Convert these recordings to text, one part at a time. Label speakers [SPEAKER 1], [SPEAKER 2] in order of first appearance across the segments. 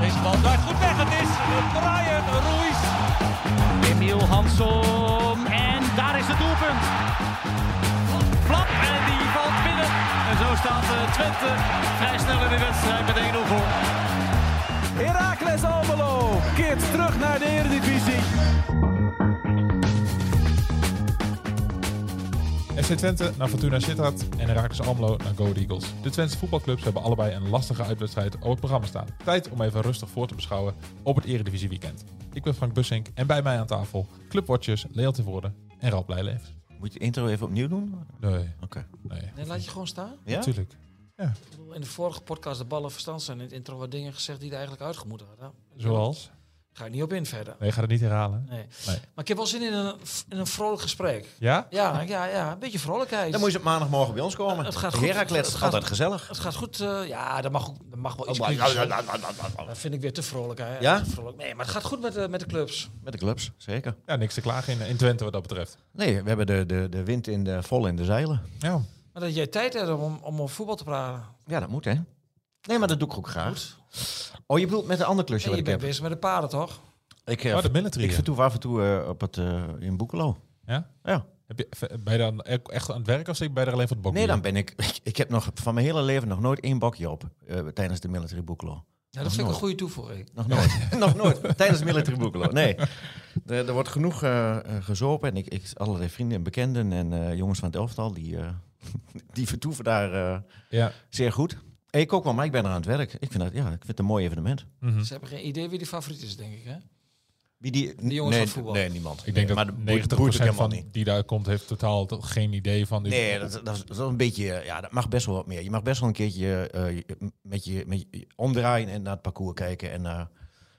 [SPEAKER 1] Deze bal draait goed weg. Het is Brian Ruiz. Emiel Hansom. En daar is het doelpunt. Flap en die valt binnen. En zo staat eh, Twente vrij snel in de wedstrijd met 1-0 voor.
[SPEAKER 2] Heracles Almelo keert terug naar de Eredivisie.
[SPEAKER 3] FC Twente naar Fortuna Sittard en Heracles Almelo naar Go Ahead Eagles. De Twentse voetbalclubs hebben allebei een lastige uitwedstrijd op het programma staan. Tijd om even rustig voor te beschouwen op het Eredivisie weekend. Ik ben Frank Bussink en bij mij aan tafel Clubwatchers, Leo Tevoorde en Ralf Blijleven.
[SPEAKER 4] Moet je de intro even opnieuw doen?
[SPEAKER 3] Nee,
[SPEAKER 4] Oké.
[SPEAKER 3] nee,
[SPEAKER 5] Nee, laat je gewoon staan.
[SPEAKER 4] Ja?
[SPEAKER 3] natuurlijk.
[SPEAKER 5] Ik bedoel, In de vorige podcast de ballen verstand zijn in het intro wat dingen gezegd die er eigenlijk uitgemoet hadden.
[SPEAKER 3] Zoals?
[SPEAKER 5] Ga ik niet op in verder.
[SPEAKER 3] Nee, ik ga het niet herhalen.
[SPEAKER 5] Nee.
[SPEAKER 3] Nee.
[SPEAKER 5] Maar ik heb wel zin in een, in een vrolijk gesprek.
[SPEAKER 3] Ja?
[SPEAKER 5] Ja, ja, ja. Een beetje vrolijkheid.
[SPEAKER 4] Dan moet je op maandagmorgen bij ons komen.
[SPEAKER 5] Het gaat goed.
[SPEAKER 4] Heracles,
[SPEAKER 5] Het gaat-
[SPEAKER 4] altijd gezellig.
[SPEAKER 5] Het gaat goed. eh, ja, dat mag, ook- dat mag wel iets
[SPEAKER 4] Oh,
[SPEAKER 5] kritisch
[SPEAKER 4] ja,
[SPEAKER 5] zijn.
[SPEAKER 4] ja, ja, ja, ja, ja.
[SPEAKER 5] Dat vind ik weer te vrolijk. Hè.
[SPEAKER 4] Ja?
[SPEAKER 5] Te Vrolijk. Nee, maar het gaat goed met, de met de clubs.
[SPEAKER 4] Met de clubs, zeker.
[SPEAKER 3] Ja, niks te klagen in, in Twente wat dat betreft.
[SPEAKER 4] Nee, we hebben de, de, de wind in de, vol in de zeilen.
[SPEAKER 3] Ja,
[SPEAKER 5] Maar dat jij tijd hebt om, om over voetbal te praten.
[SPEAKER 4] Ja, dat moet, hè? Nee, maar dat doe ik ook graag.
[SPEAKER 5] Goed.
[SPEAKER 4] Oh, je bedoelt met een ander klusje
[SPEAKER 5] En
[SPEAKER 4] wat
[SPEAKER 5] je
[SPEAKER 4] ik
[SPEAKER 5] bent
[SPEAKER 4] heb?
[SPEAKER 5] bezig met de paarden, toch?
[SPEAKER 4] Ik, eh,
[SPEAKER 3] oh, de
[SPEAKER 4] ik
[SPEAKER 3] military.
[SPEAKER 4] vertoef af en toe eh, op het, eh, in Boekelo.
[SPEAKER 3] Ja?
[SPEAKER 4] Ja.
[SPEAKER 3] Heb je, ben je dan e- echt aan het werk of zit je bij er alleen voor het bokken?
[SPEAKER 4] Nee, dan ben ik... ik... heb nog van mijn hele leven nog nooit één bakje op eh, tijdens de military Boekelo.
[SPEAKER 5] Ja, dat vind ik een goede toevoeging.
[SPEAKER 4] Nog nooit. nog nooit. Tijdens Military Boekelo. Nee. Er, er wordt genoeg eh, eh, gezopen. En ik, ik allerlei vrienden en bekenden en eh, jongens van het elftal, die, eh, die vertoeven daar eh,
[SPEAKER 3] Ja.
[SPEAKER 4] zeer goed. En ik ook wel, maar ik ben er aan het werk. Ik vind, dat, ja, ik vind het een mooi evenement.
[SPEAKER 3] Mhm.
[SPEAKER 5] Ze hebben geen idee wie de favoriet is, denk ik. Hè? Ah,
[SPEAKER 4] Wie die,
[SPEAKER 5] De jongens
[SPEAKER 4] nee,
[SPEAKER 5] van voetbal.
[SPEAKER 4] Nee, niemand.
[SPEAKER 3] Ik
[SPEAKER 4] Nee,
[SPEAKER 3] denk dat
[SPEAKER 4] maar boeit-
[SPEAKER 3] 90%
[SPEAKER 4] boeit ook helemaal
[SPEAKER 3] van
[SPEAKER 4] niet.
[SPEAKER 3] die daar komt heeft totaal toch geen idee van. Dus
[SPEAKER 4] Nee, dat, dat, is, dat is een beetje... eh, Ja, dat mag best wel wat meer. Je mag best wel een keertje eh, je- met, je, met je omdraaien en naar het parcours kijken en naar...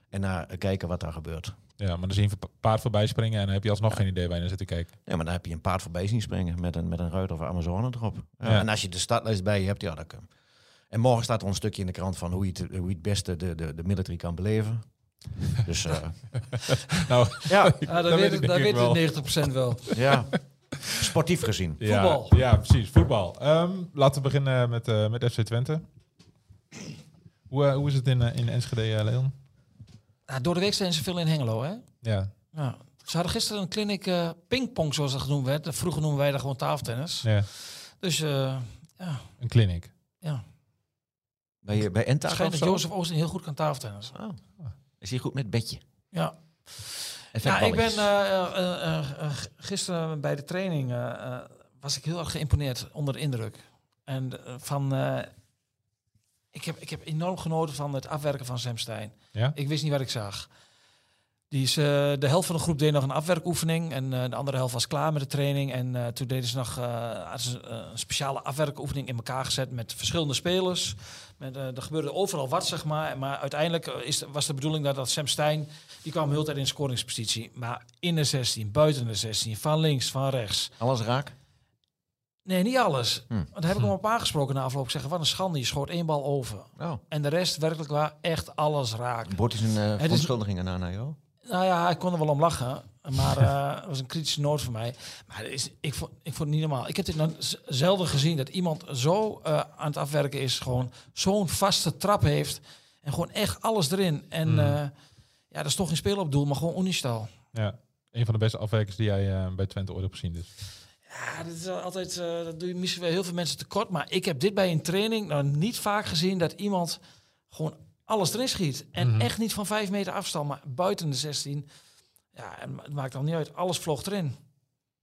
[SPEAKER 4] En naar kijken wat daar gebeurt.
[SPEAKER 3] Ja, maar dan zie je een paard voorbij springen en dan heb je alsnog geen idee waar je naar zit te kijken.
[SPEAKER 4] Ja, maar dan heb je een paard voorbij zien springen met een, met een ruiter of Amazone erop. Ja,
[SPEAKER 3] Ja.
[SPEAKER 4] En als je de startlijst bij je hebt, ja, dat kan. En morgen staat er een stukje in de krant van hoe je het, hoe je het beste de, de, de military kan beleven. Dus eh,
[SPEAKER 3] Nou,
[SPEAKER 4] ja,
[SPEAKER 5] Ja,
[SPEAKER 3] weet
[SPEAKER 5] dat
[SPEAKER 3] ik
[SPEAKER 5] Ah, weet, het-
[SPEAKER 3] denk
[SPEAKER 5] dat
[SPEAKER 3] ik
[SPEAKER 5] weet
[SPEAKER 3] wel.
[SPEAKER 5] het 90% wel.
[SPEAKER 4] ja, sportief gezien.
[SPEAKER 3] ja,
[SPEAKER 5] Voetbal.
[SPEAKER 3] Ja, precies, voetbal. Ehm, laten we beginnen met, eh, met FC Twente. Hoe, eh, hoe is het in, eh, in Enschede, eh, Leon?
[SPEAKER 5] Nou, door de week zijn ze veel in Hengelo, hè?
[SPEAKER 3] Ja,
[SPEAKER 5] Ja. Ze hadden gisteren een clinic eh, pingpong, zoals dat genoemd werd. Vroeger noemen wij dat gewoon tafeltennis.
[SPEAKER 3] ja,
[SPEAKER 5] Dus eh ja,
[SPEAKER 3] een clinic.
[SPEAKER 5] ja.
[SPEAKER 4] Bij, je- bij
[SPEAKER 5] het
[SPEAKER 4] Enta
[SPEAKER 5] schijnt
[SPEAKER 4] of
[SPEAKER 5] dat
[SPEAKER 4] zo?
[SPEAKER 5] Jozef Oosten heel goed kan tafeltennis.
[SPEAKER 4] Oh, is hij goed met bedje?
[SPEAKER 5] Ja,
[SPEAKER 4] En
[SPEAKER 5] ja ik ben
[SPEAKER 4] vetballetjes.
[SPEAKER 5] eh, eh, eh, eh, gisteren bij de training eh, eh, was ik heel erg geïmponeerd onder de indruk. En eh, van, eh, ik, heb, ik heb enorm genoten van het afwerken van Sam Stein.
[SPEAKER 3] Ja?
[SPEAKER 5] Ik wist niet wat ik zag. Die is, eh, de helft van de groep deed nog een afwerkoefening. En eh, de andere helft was klaar met de training. En eh, toen deden ze nog eh, hadden ze, eh, een speciale afwerkoefening in elkaar gezet met verschillende spelers. Met, eh, er gebeurde overal wat, zeg maar. Maar uiteindelijk eh, is, was de bedoeling dat, dat Sam Stein... die kwam heel de tijd in scoringspositie. Maar in de 16, buiten de 16, van links, van rechts.
[SPEAKER 4] Alles raak?
[SPEAKER 5] Nee, niet alles.
[SPEAKER 4] Hm.
[SPEAKER 5] Want daar heb ik hem op aangesproken na afloop. Ik Zeg, wat een schande, je schoot één bal over.
[SPEAKER 4] Oh,
[SPEAKER 5] En de rest werkelijk waar echt alles raak.
[SPEAKER 4] Bord is een eh
[SPEAKER 5] is-
[SPEAKER 4] verontschuldiging aan aan jou.
[SPEAKER 5] Nou ja, hij kon er wel om lachen. Maar eh, het was een kritische noot voor mij. Maar het is, ik, vond, ik vond het niet normaal. Ik heb dit nog z- zelden gezien dat iemand zo eh, aan het afwerken is. Gewoon zo'n vaste trap heeft. En gewoon echt alles erin. En eh, ja, dat is toch geen speel op doel, maar gewoon Unistal.
[SPEAKER 3] ja, een van de beste afwerkers die jij eh, bij Twente ooit hebt gezien. Dus.
[SPEAKER 5] Ja, dat is altijd, eh, dat doe je misschien wel heel veel mensen tekort. Maar ik heb dit bij een training nou niet vaak gezien dat iemand gewoon alles erin schiet. En
[SPEAKER 3] Mhm.
[SPEAKER 5] echt niet van vijf meter afstand, maar buiten de 16. Ja, en het maakt dan niet uit. Alles vloog erin.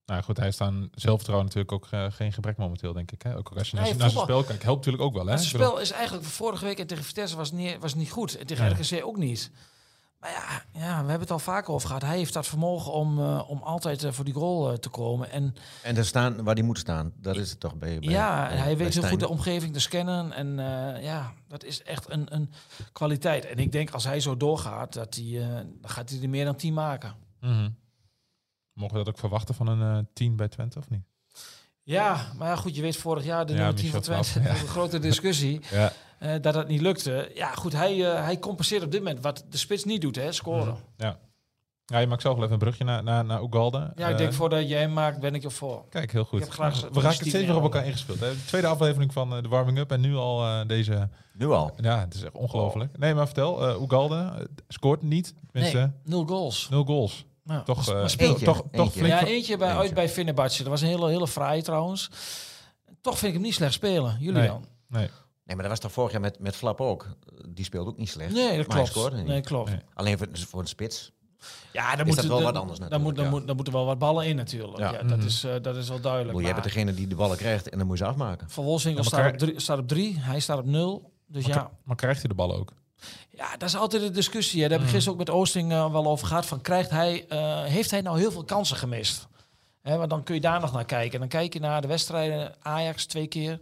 [SPEAKER 3] Nou goed, hij is aan zelfvertrouwen natuurlijk ook eh, geen gebrek momenteel, denk ik. Hè? Ook als je naar, zijn-
[SPEAKER 5] Nee,
[SPEAKER 3] naar zijn
[SPEAKER 5] voetbal-
[SPEAKER 3] spel kijkt, helpt natuurlijk ook wel. Hè?
[SPEAKER 5] Het
[SPEAKER 3] Ik bedoel-
[SPEAKER 5] spel is eigenlijk van vorige week en tegen Vitesse was niet, was niet goed. En tegen
[SPEAKER 3] Nee.
[SPEAKER 5] RKC ook niet. Maar ja, ja, we hebben het al vaker over gehad. Hij heeft dat vermogen om, eh, om altijd eh, voor die goal eh, te komen. En
[SPEAKER 4] En daar staan waar die moet staan. Dat is het toch bij bij-
[SPEAKER 5] ja,
[SPEAKER 4] bij-
[SPEAKER 5] hij
[SPEAKER 4] bij
[SPEAKER 5] weet heel
[SPEAKER 4] Stijn.
[SPEAKER 5] goed de omgeving te scannen. En eh, ja, dat is echt een, een kwaliteit. En ik denk als hij zo doorgaat, dat hij, eh, dan gaat hij er meer dan 10 maken.
[SPEAKER 3] Mhm. Mogen we dat ook verwachten van een eh team bij Twente of niet?
[SPEAKER 5] Ja, maar ja, goed, je weet vorig jaar de
[SPEAKER 3] Ja,
[SPEAKER 5] nummer 10 van
[SPEAKER 3] Michel
[SPEAKER 5] Twente.
[SPEAKER 3] Knap, ja.
[SPEAKER 5] Een grote discussie
[SPEAKER 3] Ja.
[SPEAKER 5] eh, dat dat niet lukte. Ja, goed, hij, eh, hij compenseert op dit moment wat de spits niet doet, hè, scoren.
[SPEAKER 3] Ja. ja, je maakt zo wel even een brugje naar, naar, naar Ugalde.
[SPEAKER 5] Ja, ik
[SPEAKER 3] Eh,
[SPEAKER 5] denk voordat jij hem maakt, ben ik er voor.
[SPEAKER 3] Kijk, heel goed.
[SPEAKER 5] Ik heb graag
[SPEAKER 3] Nou,
[SPEAKER 5] gezegd,
[SPEAKER 3] we
[SPEAKER 5] dat
[SPEAKER 3] raken
[SPEAKER 5] is
[SPEAKER 3] steeds
[SPEAKER 5] tien
[SPEAKER 3] weer op
[SPEAKER 5] euro.
[SPEAKER 3] elkaar ingespeeld. Hè. De tweede aflevering van eh, de warming-up en nu al eh, deze...
[SPEAKER 4] Nu al.
[SPEAKER 3] Ja, het is echt ongelooflijk.
[SPEAKER 5] Oh.
[SPEAKER 3] Nee, maar vertel. eh Ugalde eh, scoort niet. Tenminste,
[SPEAKER 5] Nee, nul goals.
[SPEAKER 3] nul goals.
[SPEAKER 5] Nou,
[SPEAKER 3] Toch, eh,
[SPEAKER 5] maar
[SPEAKER 4] speelt-
[SPEAKER 3] toch, toch, toch
[SPEAKER 4] Eentje.
[SPEAKER 3] flink...
[SPEAKER 5] ja,
[SPEAKER 3] ver-
[SPEAKER 5] eentje bij, uit bij Fenerbahce. Dat was een hele, hele fraaie trouwens. Toch vind ik hem niet slecht spelen, Julian.
[SPEAKER 4] Nee,
[SPEAKER 3] Nee.
[SPEAKER 4] maar dat was toch vorig jaar met, met Flap ook. Die speelde ook niet slecht.
[SPEAKER 5] Nee, dat
[SPEAKER 4] Maar hij
[SPEAKER 5] klopt.
[SPEAKER 4] scoorde niet.
[SPEAKER 5] nee, klopt.
[SPEAKER 3] Nee.
[SPEAKER 4] Alleen voor, dus voor een spits.
[SPEAKER 5] Ja, dan
[SPEAKER 4] Is dat
[SPEAKER 5] moeten-
[SPEAKER 4] wel
[SPEAKER 5] dan-
[SPEAKER 4] wat anders
[SPEAKER 5] Dan, moet,
[SPEAKER 4] natuurlijk,
[SPEAKER 5] dan,
[SPEAKER 4] ja.
[SPEAKER 5] moet, dan moeten wel wat ballen in natuurlijk.
[SPEAKER 4] Ja.
[SPEAKER 5] Ja. dat,
[SPEAKER 3] Mhm.
[SPEAKER 5] is, eh, dat is wel
[SPEAKER 4] Ik
[SPEAKER 5] duidelijk.
[SPEAKER 4] bedoel, jij
[SPEAKER 5] maar
[SPEAKER 4] bent degene die de ballen krijgt en dan moet je ze afmaken.
[SPEAKER 5] Van Wolfswinkel
[SPEAKER 3] Ja, maar
[SPEAKER 5] staat,
[SPEAKER 3] Kar-
[SPEAKER 5] op drie- staat op drie, hij staat op nul. Dus
[SPEAKER 3] Maar,
[SPEAKER 5] ja,
[SPEAKER 3] k- maar krijgt hij de bal ook?
[SPEAKER 5] ja, dat is altijd de discussie. Hè. Daar heb ik gisteren ook met Oosting eh, wel over gehad. Van, krijgt hij, eh, heeft hij nou heel veel kansen gemist? Hè, want dan kun je daar nog naar kijken. En dan kijk je naar de wedstrijden Ajax twee keer.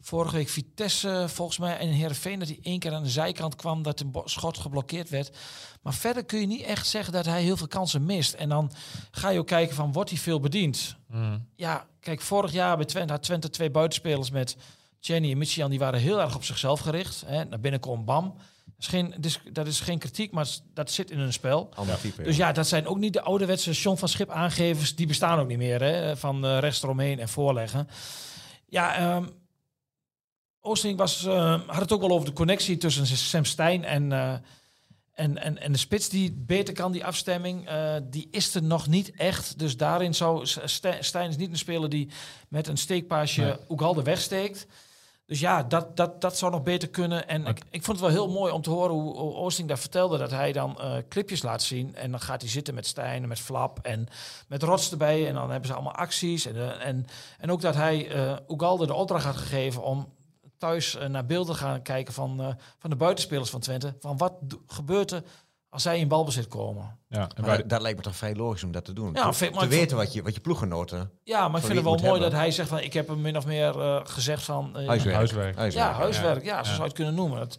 [SPEAKER 5] Vorige week Vitesse volgens mij en Heerenveen dat hij één keer aan de zijkant kwam dat de bo- schot geblokkeerd werd. Maar verder kun je niet echt zeggen dat hij heel veel kansen mist. En dan ga je ook kijken van wordt hij veel bediend?
[SPEAKER 3] Mhm.
[SPEAKER 5] ja, kijk, vorig jaar bij Twente had Twente twee buitenspelers met Jenny en Michian. Die waren heel erg op zichzelf gericht. Hè. Naar binnen kwam Bam. Dat is, geen, dis- dat is geen kritiek, maar s- dat zit in hun spel.
[SPEAKER 4] Ander type.
[SPEAKER 5] Dus ja, dat zijn ook niet de ouderwetse John van Schip aangevers. Die bestaan ook niet meer, hè, van eh, rechts eromheen en voorleggen. Ja, ehm Oosting was, eh, had het ook wel over de connectie tussen Sam Stein en, eh, en, en, en de spits die het beter kan, die afstemming. eh, die is er nog niet echt. Dus daarin zou S- Ste- Stein is niet een speler die met een steekpaasje
[SPEAKER 3] Nee.
[SPEAKER 5] Oegalde wegsteekt. Dus ja, dat, dat, dat zou nog beter kunnen. En ik, ik vond het wel heel mooi om te horen hoe, hoe Oosting daar vertelde... dat hij dan eh, clipjes laat zien. En dan gaat hij zitten met Stijn en met Flap en met Rots erbij. En dan hebben ze allemaal acties. En, eh, en, en ook dat hij eh Ugalde de opdracht had gegeven... om thuis eh, naar beelden te gaan kijken van, eh, van de buitenspelers van Twente. Van wat do- gebeurt er als zij in balbezit komen?
[SPEAKER 3] Ja,
[SPEAKER 4] Maar
[SPEAKER 3] en bij
[SPEAKER 4] dat,
[SPEAKER 3] de-
[SPEAKER 4] dat lijkt me toch vrij logisch om dat te doen.
[SPEAKER 5] Ja,
[SPEAKER 4] Te-
[SPEAKER 5] vind-
[SPEAKER 4] te
[SPEAKER 5] maar ik
[SPEAKER 4] weten wat je, wat je ploeggenoten...
[SPEAKER 5] Ja, maar
[SPEAKER 4] Van
[SPEAKER 5] ik vind
[SPEAKER 4] wie
[SPEAKER 5] het
[SPEAKER 4] het
[SPEAKER 5] wel
[SPEAKER 4] moet
[SPEAKER 5] mooi
[SPEAKER 4] hebben.
[SPEAKER 5] dat hij zegt van... ik heb hem min of meer eh, gezegd van... eh,
[SPEAKER 4] Huiswerk.
[SPEAKER 3] Huiswerk.
[SPEAKER 5] Ja,
[SPEAKER 4] Huiswerk.
[SPEAKER 5] huiswerk. Ja, zo
[SPEAKER 3] Ja.
[SPEAKER 5] zou je het kunnen noemen. Dat,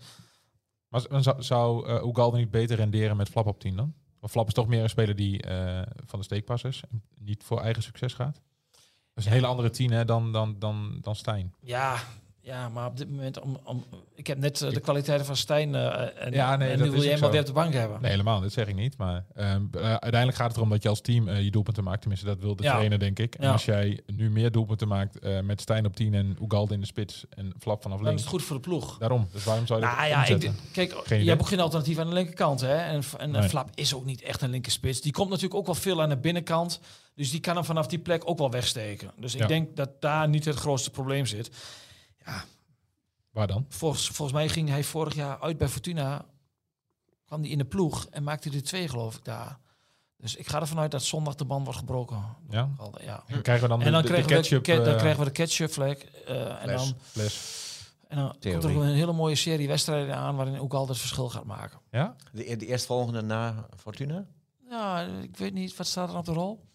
[SPEAKER 3] Maar z- zou, zou eh, Ugalde niet beter renderen met Flap op 10 dan? Want Flap is toch meer een speler die eh, van de steekpas is. en Niet voor eigen succes gaat. Dat is een hele andere 10 hè, dan, dan, dan, dan Stijn.
[SPEAKER 5] Ja, ja maar op dit moment... Om, om, ik heb net eh, de kwaliteiten van Stijn... eh, en,
[SPEAKER 3] Ja, nee,
[SPEAKER 5] en
[SPEAKER 3] dat
[SPEAKER 5] nu
[SPEAKER 3] is
[SPEAKER 5] wil je
[SPEAKER 3] ook
[SPEAKER 5] hem wel
[SPEAKER 3] zo.
[SPEAKER 5] weer op de bank hebben.
[SPEAKER 3] Nee, helemaal. Dat zeg ik niet. Maar ehm, eh, uiteindelijk gaat het erom dat je als team eh, je doelpunten maakt. Tenminste, dat wil de
[SPEAKER 5] Ja.
[SPEAKER 3] trainer, denk ik. En
[SPEAKER 5] Ja.
[SPEAKER 3] als jij nu meer doelpunten maakt eh, met Stijn op 10 en Ugalde in de spits en Flap vanaf
[SPEAKER 5] Dan is
[SPEAKER 3] links.
[SPEAKER 5] het goed voor de ploeg.
[SPEAKER 3] Daarom. Dus waarom zou je
[SPEAKER 5] Nou
[SPEAKER 3] dat
[SPEAKER 5] ja, ik,
[SPEAKER 3] omzetten?
[SPEAKER 5] d- kijk,
[SPEAKER 3] idee.
[SPEAKER 5] je hebt ook geen alternatief aan de linkerkant. Hè? En, F- en eh,
[SPEAKER 3] Nee.
[SPEAKER 5] Flap is ook niet echt een linkerspits. Die komt natuurlijk ook wel veel aan de binnenkant. Dus die kan hem vanaf die plek ook wel wegsteken. Dus
[SPEAKER 3] Ja.
[SPEAKER 5] ik denk dat daar niet het grootste probleem zit.
[SPEAKER 3] Waar dan?
[SPEAKER 5] Volgens, volgens mij ging hij vorig jaar uit bij Fortuna. Kwam hij in de ploeg en maakte hij er twee, geloof ik, daar. Dus ik ga ervan uit dat zondag de band wordt gebroken.
[SPEAKER 3] Ja?
[SPEAKER 5] Ja.
[SPEAKER 3] Dan krijgen we dan,
[SPEAKER 5] En dan,
[SPEAKER 3] de, de, de
[SPEAKER 5] kregen,
[SPEAKER 3] ketchup...
[SPEAKER 5] we de, ke- dan
[SPEAKER 3] eh,
[SPEAKER 5] kregen we de ketchup flag. eh, en dan,
[SPEAKER 3] fles.
[SPEAKER 5] en dan komt er
[SPEAKER 4] Theorie.
[SPEAKER 5] ook een hele mooie serie wedstrijden aan... waarin ook altijd het verschil gaat maken.
[SPEAKER 3] Ja?
[SPEAKER 4] De, de eerstvolgende na Fortuna?
[SPEAKER 5] Ja, ik weet niet. Wat staat er op de rol?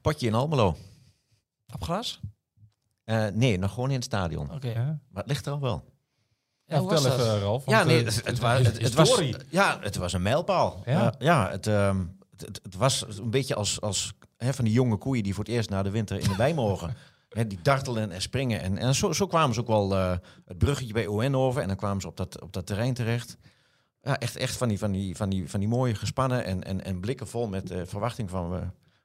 [SPEAKER 4] Potje in Almelo.
[SPEAKER 5] Op gras?
[SPEAKER 4] Eh, nee, nog gewoon in het stadion.
[SPEAKER 5] Oké.
[SPEAKER 3] ja?
[SPEAKER 5] Ja,
[SPEAKER 4] Maar het ligt er al wel.
[SPEAKER 3] vertel
[SPEAKER 5] hoe was dat?
[SPEAKER 3] even, Ralf.
[SPEAKER 4] Ja,
[SPEAKER 3] want,
[SPEAKER 4] nee,
[SPEAKER 3] eh,
[SPEAKER 4] het, het wa- het- het was,
[SPEAKER 3] historie.
[SPEAKER 4] ja, het was een mijlpaal.
[SPEAKER 3] Ja.
[SPEAKER 4] Ja, ja het, ehm, het, het- het was een beetje als, als hè, van die jonge koeien die voor het eerst na de winter in de bij mogen. Hè, die dartelen en springen. En, en zo, zo kwamen ze ook wel eh, het bruggetje bij ON over. En dan kwamen ze op dat, op dat terrein terecht. Ja, echt, echt van, die, van, die, van, die, van die mooie gespannen en, en, en blikken vol met eh, verwachting van... we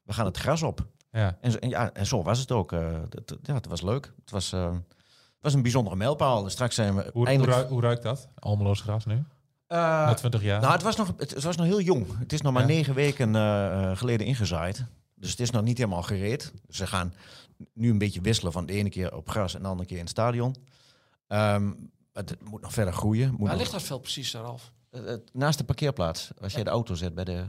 [SPEAKER 4] we gaan het gras op.
[SPEAKER 3] Ja.
[SPEAKER 4] En zo, en ja, en zo was het ook. eh, het, het- ja, het was leuk. Het was, eh, het was een bijzondere mijlpaal. Straks zijn we
[SPEAKER 3] Hoe, hoe,
[SPEAKER 4] eindelijk...
[SPEAKER 3] ruikt, hoe ruikt dat? Almeloos gras nu?
[SPEAKER 4] Eh,
[SPEAKER 3] Na 20 jaar?
[SPEAKER 4] nou, het was, nog, het, het was nog heel jong. Het is nog maar
[SPEAKER 3] Ja.
[SPEAKER 4] negen weken eh, eh, geleden ingezaaid. Dus het is nog niet helemaal gereed. Ze gaan nu een beetje wisselen van de ene keer op gras en de andere keer in het stadion. Ehm, het moet nog verder groeien. Moet
[SPEAKER 5] Waar
[SPEAKER 4] nog-
[SPEAKER 5] ligt dat veld precies, Ralf?
[SPEAKER 4] eh, eh, naast de parkeerplaats, als jij de auto zet bij de...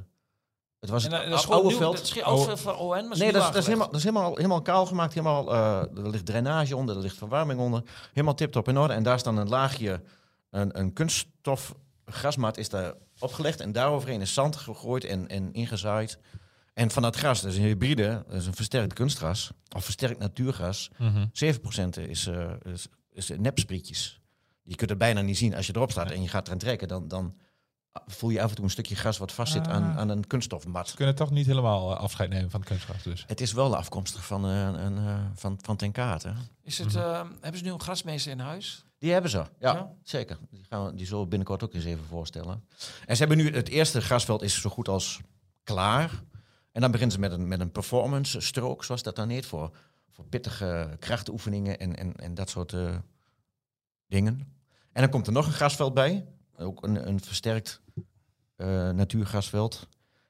[SPEAKER 4] Het was
[SPEAKER 5] En,
[SPEAKER 4] het
[SPEAKER 5] eh,
[SPEAKER 4] oude
[SPEAKER 5] gewoon nieuw-
[SPEAKER 4] veld.
[SPEAKER 5] Dat is geen oud veld van ON, maar is
[SPEAKER 4] Nee,
[SPEAKER 5] nieuw
[SPEAKER 4] dat is, dat is,
[SPEAKER 5] aangelegd.
[SPEAKER 4] helemaal, dat is helemaal, helemaal kaal gemaakt. Helemaal, eh, er ligt drainage onder, er ligt verwarming onder. Helemaal tip-top in orde. En daar is dan een laagje, een, een kunststof grasmat is daar opgelegd. En daaroverheen is zand gegooid en, en ingezaaid. En van dat gras, dat is een hybride, dat is een versterkt kunstgras. Of versterkt natuurgras.
[SPEAKER 3] Mhm.
[SPEAKER 4] 7% is, eh is, is nepsprietjes. Je kunt het bijna niet zien als je erop staat en je gaat erin trekken. Dan, dan voel je af en toe een stukje gras wat vastzit aan, aan een kunststofmat.
[SPEAKER 3] Ze kunnen toch niet helemaal eh, afscheid nemen van het kunstgras dus.
[SPEAKER 4] Het is wel afkomstig van, eh, een, eh, van, van Ten Kaat, hè?
[SPEAKER 5] Is het, eh,
[SPEAKER 4] Mhm.
[SPEAKER 5] hebben ze nu een grasmeester in huis?
[SPEAKER 4] Die hebben ze, ja,
[SPEAKER 5] Ja?
[SPEAKER 4] zeker. Die, gaan we, die zullen we binnenkort ook eens even voorstellen. En ze hebben nu, het eerste grasveld is zo goed als klaar. En dan beginnen ze met een, met een performance strook, zoals dat dan heet, voor, voor pittige krachtoefeningen en, en, en dat soort eh, dingen. En dan komt er nog een grasveld bij, ook een, een versterkt eh, natuurgrasveld.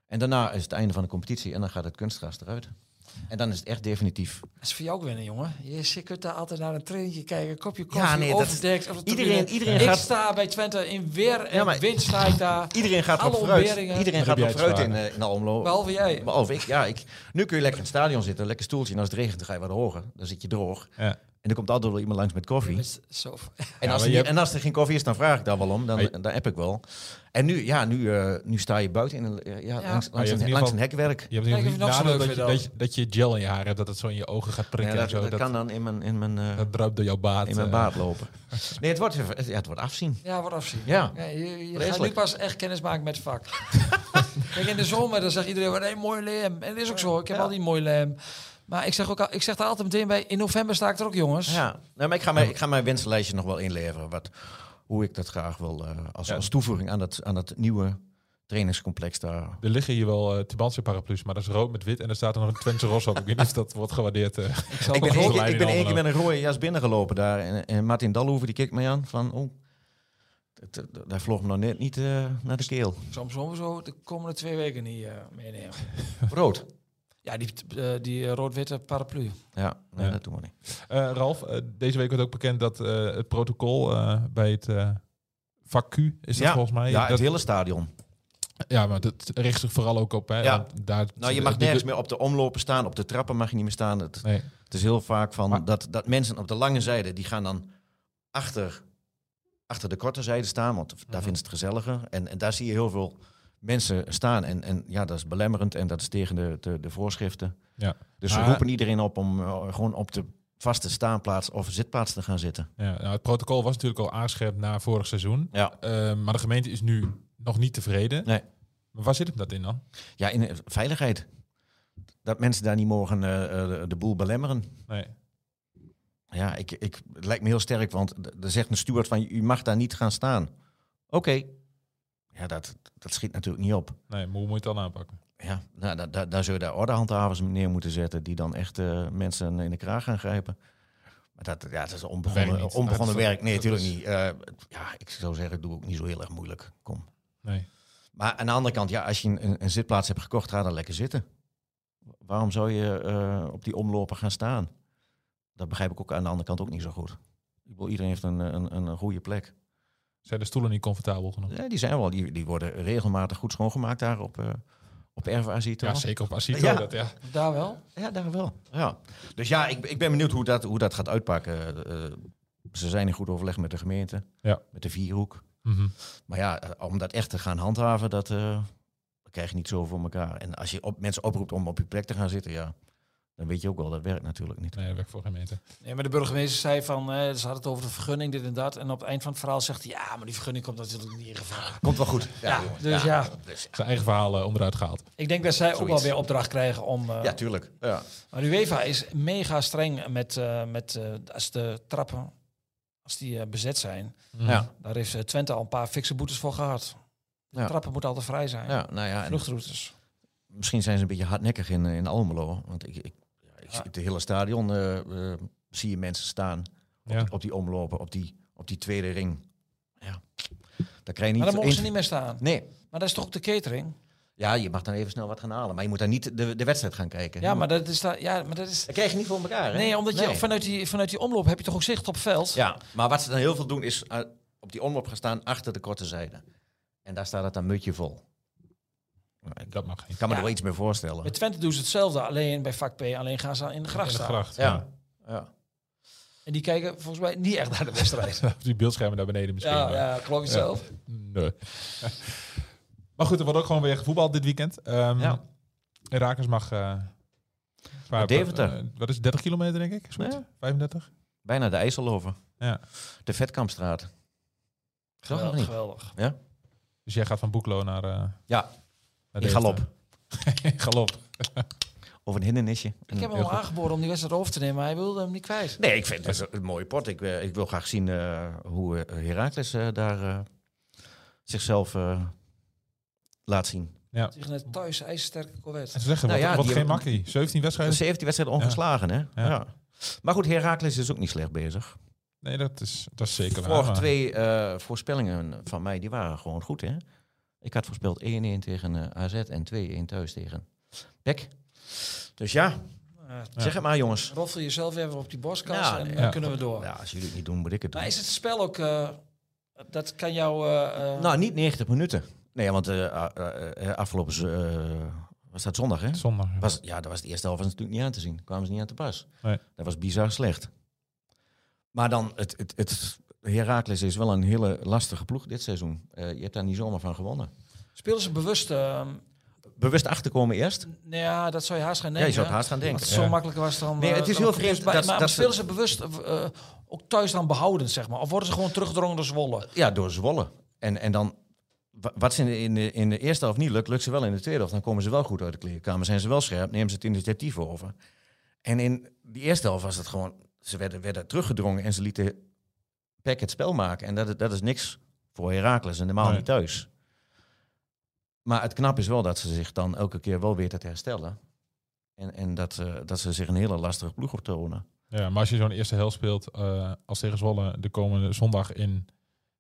[SPEAKER 4] En daarna is het einde van de competitie en dan gaat het kunstgras eruit. En dan is het echt definitief.
[SPEAKER 5] Dat is voor jou ook winnen, jongen. Je zit- kunt daar altijd naar een trainetje kijken, kopje
[SPEAKER 4] Ja,
[SPEAKER 5] koffie, ja,
[SPEAKER 4] nee,
[SPEAKER 5] nee,
[SPEAKER 4] dat-
[SPEAKER 5] overdekt. Of
[SPEAKER 4] Iedereen, iedereen
[SPEAKER 5] ik
[SPEAKER 4] gaat...
[SPEAKER 5] sta bij Twente in weer en
[SPEAKER 4] Ja, maar-
[SPEAKER 5] wind sta ik daar.
[SPEAKER 4] Iedereen gaat
[SPEAKER 5] Alle
[SPEAKER 4] wat vooruit.
[SPEAKER 5] ontberingen.
[SPEAKER 4] Iedereen
[SPEAKER 3] Dan
[SPEAKER 4] gaat
[SPEAKER 3] heb
[SPEAKER 4] wat
[SPEAKER 3] jij
[SPEAKER 4] vooruit
[SPEAKER 3] het
[SPEAKER 4] in, eh, in Almelo.
[SPEAKER 5] Behalve jij.
[SPEAKER 4] Behalve ik, ja. Ik, nu kun je lekker in het stadion zitten, een lekker stoeltje. En als het regent, dan ga je wat hoger. Dan zit je droog.
[SPEAKER 3] Ja.
[SPEAKER 4] En er komt altijd wel iemand langs met koffie.
[SPEAKER 5] Met Zo,
[SPEAKER 4] En,
[SPEAKER 3] Ja,
[SPEAKER 4] als
[SPEAKER 3] maar
[SPEAKER 4] er,
[SPEAKER 3] je
[SPEAKER 4] niet-
[SPEAKER 3] hebt-
[SPEAKER 4] en als er geen koffie is, dan vraag ik daar wel om. Dan,
[SPEAKER 3] Maar je-
[SPEAKER 4] dan heb ik wel. En nu, ja, nu, eh, nu sta je buiten in een, eh, ja, langs,
[SPEAKER 3] Maar
[SPEAKER 4] langs,
[SPEAKER 3] je
[SPEAKER 4] een,
[SPEAKER 3] hebt in
[SPEAKER 4] langs een
[SPEAKER 3] ieder
[SPEAKER 4] hekwerk.
[SPEAKER 3] Je hebt in ieder
[SPEAKER 5] Kijk,
[SPEAKER 3] geval
[SPEAKER 5] of
[SPEAKER 3] niet
[SPEAKER 5] je nog
[SPEAKER 3] nadeel
[SPEAKER 5] zo
[SPEAKER 3] dat
[SPEAKER 5] leuk
[SPEAKER 3] je, dat,
[SPEAKER 5] vindt
[SPEAKER 3] je, dat je gel in je haar hebt, dat het zo in je ogen gaat prikken
[SPEAKER 4] Ja, dat,
[SPEAKER 3] en zo.
[SPEAKER 4] dat kan dan in mijn, in mijn, eh,
[SPEAKER 3] dat druipt door jouw baard.
[SPEAKER 4] in mijn
[SPEAKER 3] eh.
[SPEAKER 4] baard lopen. Nee, het wordt, even- ja, het wordt afzien.
[SPEAKER 5] ja, wordt afzien.
[SPEAKER 4] Ja.
[SPEAKER 5] Ja, je je gaat
[SPEAKER 4] Vreselijk.
[SPEAKER 5] nu pas echt kennis maken met het vak. Kijk, in de zomer dan zegt iedereen, wat een mooi lem. En dat is ook zo, ik heb al die mooi lem. Maar ik zeg, ook, al- ik zeg daar altijd meteen bij, in november sta ik er ook, jongens.
[SPEAKER 4] Ja, nou, maar ik ga, mijn, ik ga mijn wensenlijstje nog wel inleveren. Wat, hoe ik dat graag wil eh, als,
[SPEAKER 3] Ja.
[SPEAKER 4] als toevoeging aan dat, aan dat nieuwe trainingscomplex daar.
[SPEAKER 3] Er liggen hier wel eh Tibantia paraplu's, maar dat is rood met wit. En er staat er nog een Twentse Ros op. Ik weet niet of dat wordt gewaardeerd. eh.
[SPEAKER 5] zal
[SPEAKER 4] Ik
[SPEAKER 5] toch
[SPEAKER 4] ben,
[SPEAKER 3] een
[SPEAKER 4] één
[SPEAKER 3] lijn
[SPEAKER 4] keer, ik
[SPEAKER 3] in
[SPEAKER 4] ben één keer
[SPEAKER 3] Almelo.
[SPEAKER 4] met een rode jas binnengelopen daar. En, en Martin Dalhoeven die keek mij aan van... Oh, dat- dat- daar vloog me nog net niet eh, naar de keel.
[SPEAKER 5] Soms sowieso de komende twee weken niet eh, meenemen.
[SPEAKER 4] Rood.
[SPEAKER 5] Ja, die, eh, die eh, rood-witte paraplu.
[SPEAKER 4] Ja, nee,
[SPEAKER 3] Ja.
[SPEAKER 4] dat doen we niet.
[SPEAKER 3] Eh, Ralf, eh, deze week werd ook bekend dat eh, het protocol eh, bij het eh vak Q, is dat
[SPEAKER 4] ja,
[SPEAKER 3] volgens mij?
[SPEAKER 4] ja,
[SPEAKER 3] dat,
[SPEAKER 4] het hele stadion.
[SPEAKER 3] ja, maar dat richt zich vooral ook op. Hè,
[SPEAKER 4] Ja.
[SPEAKER 3] want daar,
[SPEAKER 4] Nou, je mag
[SPEAKER 3] de- de-
[SPEAKER 4] nergens meer op de omlopen staan. Op de trappen mag je niet meer staan. Het,
[SPEAKER 3] Nee.
[SPEAKER 4] Het is heel vaak van
[SPEAKER 3] Maar-
[SPEAKER 4] dat, dat mensen op de lange zijde, die gaan dan achter, achter de korte zijde staan, want
[SPEAKER 3] Mhm.
[SPEAKER 4] daar vinden ze het gezelliger. En, en daar zie je heel veel mensen staan. En, en ja, dat is belemmerend en dat is tegen de, de, de voorschriften.
[SPEAKER 3] Ja.
[SPEAKER 4] Dus we
[SPEAKER 3] Maar-
[SPEAKER 4] roepen iedereen op om eh, gewoon op de vaste staanplaats of zitplaats te gaan zitten.
[SPEAKER 3] Ja, nou, het protocol was natuurlijk al aangescherpt na vorig seizoen.
[SPEAKER 4] Ja,
[SPEAKER 3] Eh, maar de gemeente is nu nog niet tevreden.
[SPEAKER 4] Nee.
[SPEAKER 3] Maar waar zit hem dat in dan?
[SPEAKER 4] ja in eh, veiligheid. Dat mensen daar niet mogen eh, eh, de- de boel belemmeren.
[SPEAKER 3] Nee.
[SPEAKER 4] Ja, ik, ik, het lijkt me heel sterk, want d- er zegt een steward van... u mag daar niet gaan staan. Oké. Ja, dat, dat schiet natuurlijk niet op.
[SPEAKER 3] Nee, maar hoe moet je het dan aanpakken?
[SPEAKER 4] Ja, nou, da, da, daar zul je daar ordehandhavers neer moeten zetten... die dan echt eh, mensen in de kraag gaan grijpen. Maar dat, ja, dat is
[SPEAKER 3] Werkt
[SPEAKER 4] onbegonnen,
[SPEAKER 3] niet.
[SPEAKER 4] onbegonnen
[SPEAKER 3] Dat is-
[SPEAKER 4] werk. Nee,
[SPEAKER 3] dat
[SPEAKER 4] natuurlijk
[SPEAKER 3] is-
[SPEAKER 4] niet. Eh, ja, ik zou zeggen, doe ook niet zo heel erg moeilijk. Kom.
[SPEAKER 3] Nee.
[SPEAKER 4] Maar aan de andere kant, ja, als je een, een zitplaats hebt gekocht, ga dan lekker zitten. Waarom zou je eh, op die omlopen gaan staan? Dat begrijp ik ook aan de andere kant ook niet zo goed. Ik bedoel, iedereen heeft een, een, een een goede plek.
[SPEAKER 3] Zijn de stoelen niet comfortabel genoeg?
[SPEAKER 4] Ja, die zijn wel, die, die worden regelmatig goed schoongemaakt daar op, eh op RVAC.
[SPEAKER 3] Ja,
[SPEAKER 4] toch?
[SPEAKER 3] zeker op Asito.
[SPEAKER 4] Ja.
[SPEAKER 3] Dat, ja.
[SPEAKER 5] Daar wel.
[SPEAKER 4] Ja, daar wel. Ja. Dus ja, ik, ik ben benieuwd hoe dat, hoe dat gaat uitpakken. Eh, ze zijn in goed overleg met de gemeente,
[SPEAKER 3] Ja.
[SPEAKER 4] met de Vierhoek.
[SPEAKER 3] Mhm.
[SPEAKER 4] Maar ja, eh, om dat echt te gaan handhaven, dat eh, krijg je niet zo voor elkaar. En als je op, mensen oproept om op je plek te gaan zitten, ja, dan weet je ook wel, dat werkt natuurlijk niet.
[SPEAKER 3] Nee, dat werkt voor de gemeente.
[SPEAKER 5] Nee, maar de burgemeester zei van, eh, ze hadden het over de vergunning, dit en dat. En op het eind van het verhaal zegt hij, ja, maar die vergunning komt natuurlijk niet in geval.
[SPEAKER 4] Komt wel goed.
[SPEAKER 5] Ja,
[SPEAKER 4] jongen.
[SPEAKER 5] dus ja,
[SPEAKER 3] Zijn eigen verhaal eh, onderuit gehaald.
[SPEAKER 5] ik denk dat zij ook wel
[SPEAKER 4] Zoiets.
[SPEAKER 5] weer opdracht krijgen om... eh,
[SPEAKER 4] ja, tuurlijk. Ja.
[SPEAKER 5] Maar de UEFA is mega streng met, eh, met eh, als de trappen, als die eh, bezet zijn.
[SPEAKER 3] Mhm.
[SPEAKER 4] Ja.
[SPEAKER 5] Daar heeft eh, Twente al een paar fikse boetes voor gehad. De
[SPEAKER 4] Ja.
[SPEAKER 5] trappen moeten altijd vrij zijn.
[SPEAKER 4] ja, nou ja, en
[SPEAKER 5] Vluchtroutes.
[SPEAKER 4] misschien zijn ze een beetje hardnekkig in, eh, in Almelo. Want ik, ik, ja, ik zie het hele stadion eh, eh, zie je mensen staan op,
[SPEAKER 3] Ja.
[SPEAKER 4] die, op die omlopen, op die, op die tweede ring. Ja. Daar krijg je niet...
[SPEAKER 5] Maar dan mogen ze
[SPEAKER 4] één-
[SPEAKER 5] niet meer staan.
[SPEAKER 4] Nee.
[SPEAKER 5] Maar dat is toch ook de catering?
[SPEAKER 4] Ja, je mag dan even snel wat gaan halen. Maar je moet daar niet de, de wedstrijd gaan kijken.
[SPEAKER 5] Ja, maar dat is... daar- Ja, maar dat is
[SPEAKER 4] Dat krijg je niet voor elkaar, hè?
[SPEAKER 5] nee, omdat je
[SPEAKER 4] Nee.
[SPEAKER 5] vanuit die, vanuit die omloop heb je toch ook zicht op het veld?
[SPEAKER 4] Ja, maar wat ze dan heel veel doen is eh, op die omloop gaan staan achter de korte zijde. En daar staat het dan mutje vol.
[SPEAKER 3] Dat mag niet.
[SPEAKER 4] Ik kan me
[SPEAKER 5] Ja.
[SPEAKER 4] er wel iets meer voorstellen.
[SPEAKER 5] Bij Twente doen ze hetzelfde, alleen bij vak P, alleen gaan ze in de gracht
[SPEAKER 3] In de
[SPEAKER 5] staan.
[SPEAKER 3] gracht.
[SPEAKER 4] ja. ja.
[SPEAKER 5] En die kijken volgens mij niet echt naar de wedstrijd.
[SPEAKER 3] Op die beeldschermen daar beneden misschien.
[SPEAKER 5] ja,
[SPEAKER 3] maar-
[SPEAKER 5] ja, klok het
[SPEAKER 3] Ja.
[SPEAKER 5] zelf.
[SPEAKER 3] Nee. maar goed, er wordt ook gewoon weer gevoetbald dit weekend. Ehm
[SPEAKER 4] Ja.
[SPEAKER 3] Herakles mag... eh, zwaar-
[SPEAKER 4] Deventer.
[SPEAKER 3] eh, wat is het, 30 kilometer, denk ik? Zoiets?
[SPEAKER 4] Ja.
[SPEAKER 3] 35?
[SPEAKER 4] Bijna de IJssel over.
[SPEAKER 3] Ja.
[SPEAKER 4] De Vetkampstraat. Toch of
[SPEAKER 5] Geweldig,
[SPEAKER 4] niet?
[SPEAKER 5] geweldig.
[SPEAKER 4] Ja?
[SPEAKER 3] Dus jij gaat van Boeklo naar, eh naar
[SPEAKER 4] Ja, ik
[SPEAKER 3] Deventer.
[SPEAKER 4] ga Nou op.
[SPEAKER 3] In galop.
[SPEAKER 4] Of een hindernisje.
[SPEAKER 5] Ik heb hem al aangeboden om die wedstrijd over te nemen, maar hij wilde hem niet kwijt.
[SPEAKER 4] Nee, ik vind het een mooie pot. Ik, eh, ik wil graag zien eh, hoe eh, Heracles eh, daar eh, zichzelf eh, laat zien.
[SPEAKER 3] Ja.
[SPEAKER 5] Tegen een thuis ijzersterke
[SPEAKER 3] En
[SPEAKER 5] Corvette.
[SPEAKER 3] ze zeggen,
[SPEAKER 4] Nou
[SPEAKER 3] wat,
[SPEAKER 4] ja,
[SPEAKER 3] wat
[SPEAKER 4] die
[SPEAKER 3] geen
[SPEAKER 4] hebben-
[SPEAKER 3] makkie. 17 wedstrijden?
[SPEAKER 4] 17 wedstrijden ongeslagen, hè?
[SPEAKER 3] Ja.
[SPEAKER 4] Ja. Maar goed, Heracles is ook niet slecht bezig.
[SPEAKER 3] Nee, dat is, dat is zeker
[SPEAKER 4] De
[SPEAKER 3] waar.
[SPEAKER 4] vorige
[SPEAKER 3] maar-
[SPEAKER 4] twee eh, voorspellingen van mij, die waren gewoon goed, hè? Ik had voorspeld 1-1 tegen eh, AZ en 2-1 thuis tegen PEC. Dus ja,
[SPEAKER 5] Eh,
[SPEAKER 4] zeg het maar, jongens.
[SPEAKER 5] Roffel jezelf even op die boskast
[SPEAKER 4] Ja,
[SPEAKER 5] en
[SPEAKER 4] nee.
[SPEAKER 5] dan
[SPEAKER 3] Ja.
[SPEAKER 5] kunnen we door.
[SPEAKER 4] Ja, als jullie het niet doen, moet ik het doen.
[SPEAKER 5] Maar is het spel ook... eh, dat kan jou... eh, eh,
[SPEAKER 4] Nou, niet 90 minuten. Nee, want eh, a- a- eh, afgelopen... z- eh, was dat zondag, hè?
[SPEAKER 3] Zondag. ja.
[SPEAKER 4] Was, ja, dat was de eerste helft was natuurlijk niet aan te zien. Kwamen ze niet aan te pas.
[SPEAKER 3] Nee.
[SPEAKER 4] Dat was bizar slecht. Maar dan, het, het, het, Heracles is wel een hele lastige ploeg dit seizoen. Eh, je hebt daar niet zomaar van gewonnen.
[SPEAKER 5] Speelden ze bewust... eh,
[SPEAKER 4] Bewust achterkomen eerst?
[SPEAKER 5] nou ja, dat zou je haast gaan
[SPEAKER 4] ja,
[SPEAKER 5] denken.
[SPEAKER 4] je zou het haast gaan denken.
[SPEAKER 5] Als het zo
[SPEAKER 3] Ja.
[SPEAKER 5] makkelijk was dan...
[SPEAKER 4] Nee,
[SPEAKER 5] eh,
[SPEAKER 4] het is
[SPEAKER 5] dan
[SPEAKER 4] heel
[SPEAKER 5] ook
[SPEAKER 4] vreemd
[SPEAKER 5] bewust bij-
[SPEAKER 4] dat-
[SPEAKER 5] maar
[SPEAKER 4] dat ze-
[SPEAKER 5] spelen ze bewust eh, eh, ook thuis dan behoudend, zeg maar? Of worden ze gewoon teruggedrongen door Zwolle?
[SPEAKER 4] Ja, door Zwolle. En, en dan, wa- wat ze in de, in, de, in de eerste helft niet lukt, lukt ze wel in de tweede helft. Dan komen ze wel goed uit de kleedkamer, zijn ze wel scherp, nemen ze het initiatief over. En in die eerste helft was het gewoon, ze werden, werden teruggedrongen en ze lieten Peck het spel maken. En dat, is- dat is niks voor Heracles en normaal
[SPEAKER 3] Nee.
[SPEAKER 4] niet thuis. Maar het knap is wel dat ze zich dan elke keer wel weten te herstellen. En, en dat, eh, dat ze zich een hele lastige ploeg optonen.
[SPEAKER 3] Ja, maar als je zo'n eerste hel speelt eh, als tegen Zwolle de komende zondag in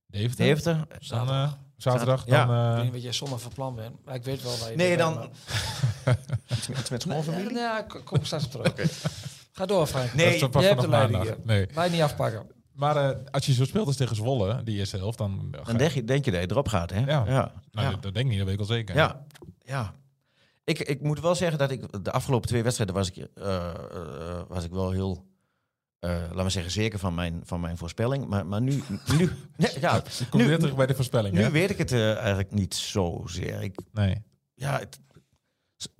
[SPEAKER 3] Deventer.
[SPEAKER 4] Deventer,
[SPEAKER 3] Dan, eh,
[SPEAKER 5] Zaterdag.
[SPEAKER 3] zaterdag.
[SPEAKER 4] Ja.
[SPEAKER 3] Dan, eh,
[SPEAKER 5] Ik weet niet wat jij zondag van plan bent, maar ik weet wel waar je...
[SPEAKER 4] Nee,
[SPEAKER 5] bent,
[SPEAKER 4] dan-
[SPEAKER 5] maar-
[SPEAKER 4] iets met, iets met schoonfamilie.
[SPEAKER 5] Ja, ja, ik kom straks op terug. Ga door, Frank.
[SPEAKER 4] Nee,
[SPEAKER 3] dat is toch pas
[SPEAKER 5] jij hebt
[SPEAKER 3] vanaf
[SPEAKER 5] de leiding
[SPEAKER 3] maandag. Nee.
[SPEAKER 5] Wij niet afpakken.
[SPEAKER 3] Maar eh, als je zo speelt als tegen Zwolle, die eerste helft, dan... ga
[SPEAKER 4] Dan
[SPEAKER 3] je-
[SPEAKER 4] denk je, denk je dat je erop gaat, hè?
[SPEAKER 3] Ja.
[SPEAKER 4] ja.
[SPEAKER 3] nou,
[SPEAKER 4] Ja.
[SPEAKER 3] dat, dat denk ik niet, dat weet ik wel zeker.
[SPEAKER 4] Ja, ja. Ik, ik moet wel zeggen dat ik de afgelopen twee wedstrijden was ik, eh, eh, was ik wel heel, eh laten we zeggen, zeker van mijn, van mijn voorspelling. Maar, maar nu, nu, nee, ja,
[SPEAKER 3] Je komt weer
[SPEAKER 4] nu,
[SPEAKER 3] terug bij de voorspelling,
[SPEAKER 4] nu
[SPEAKER 3] hè?
[SPEAKER 4] weet ik het eh, eigenlijk niet zozeer. Ik,
[SPEAKER 3] Nee.
[SPEAKER 4] ja, het,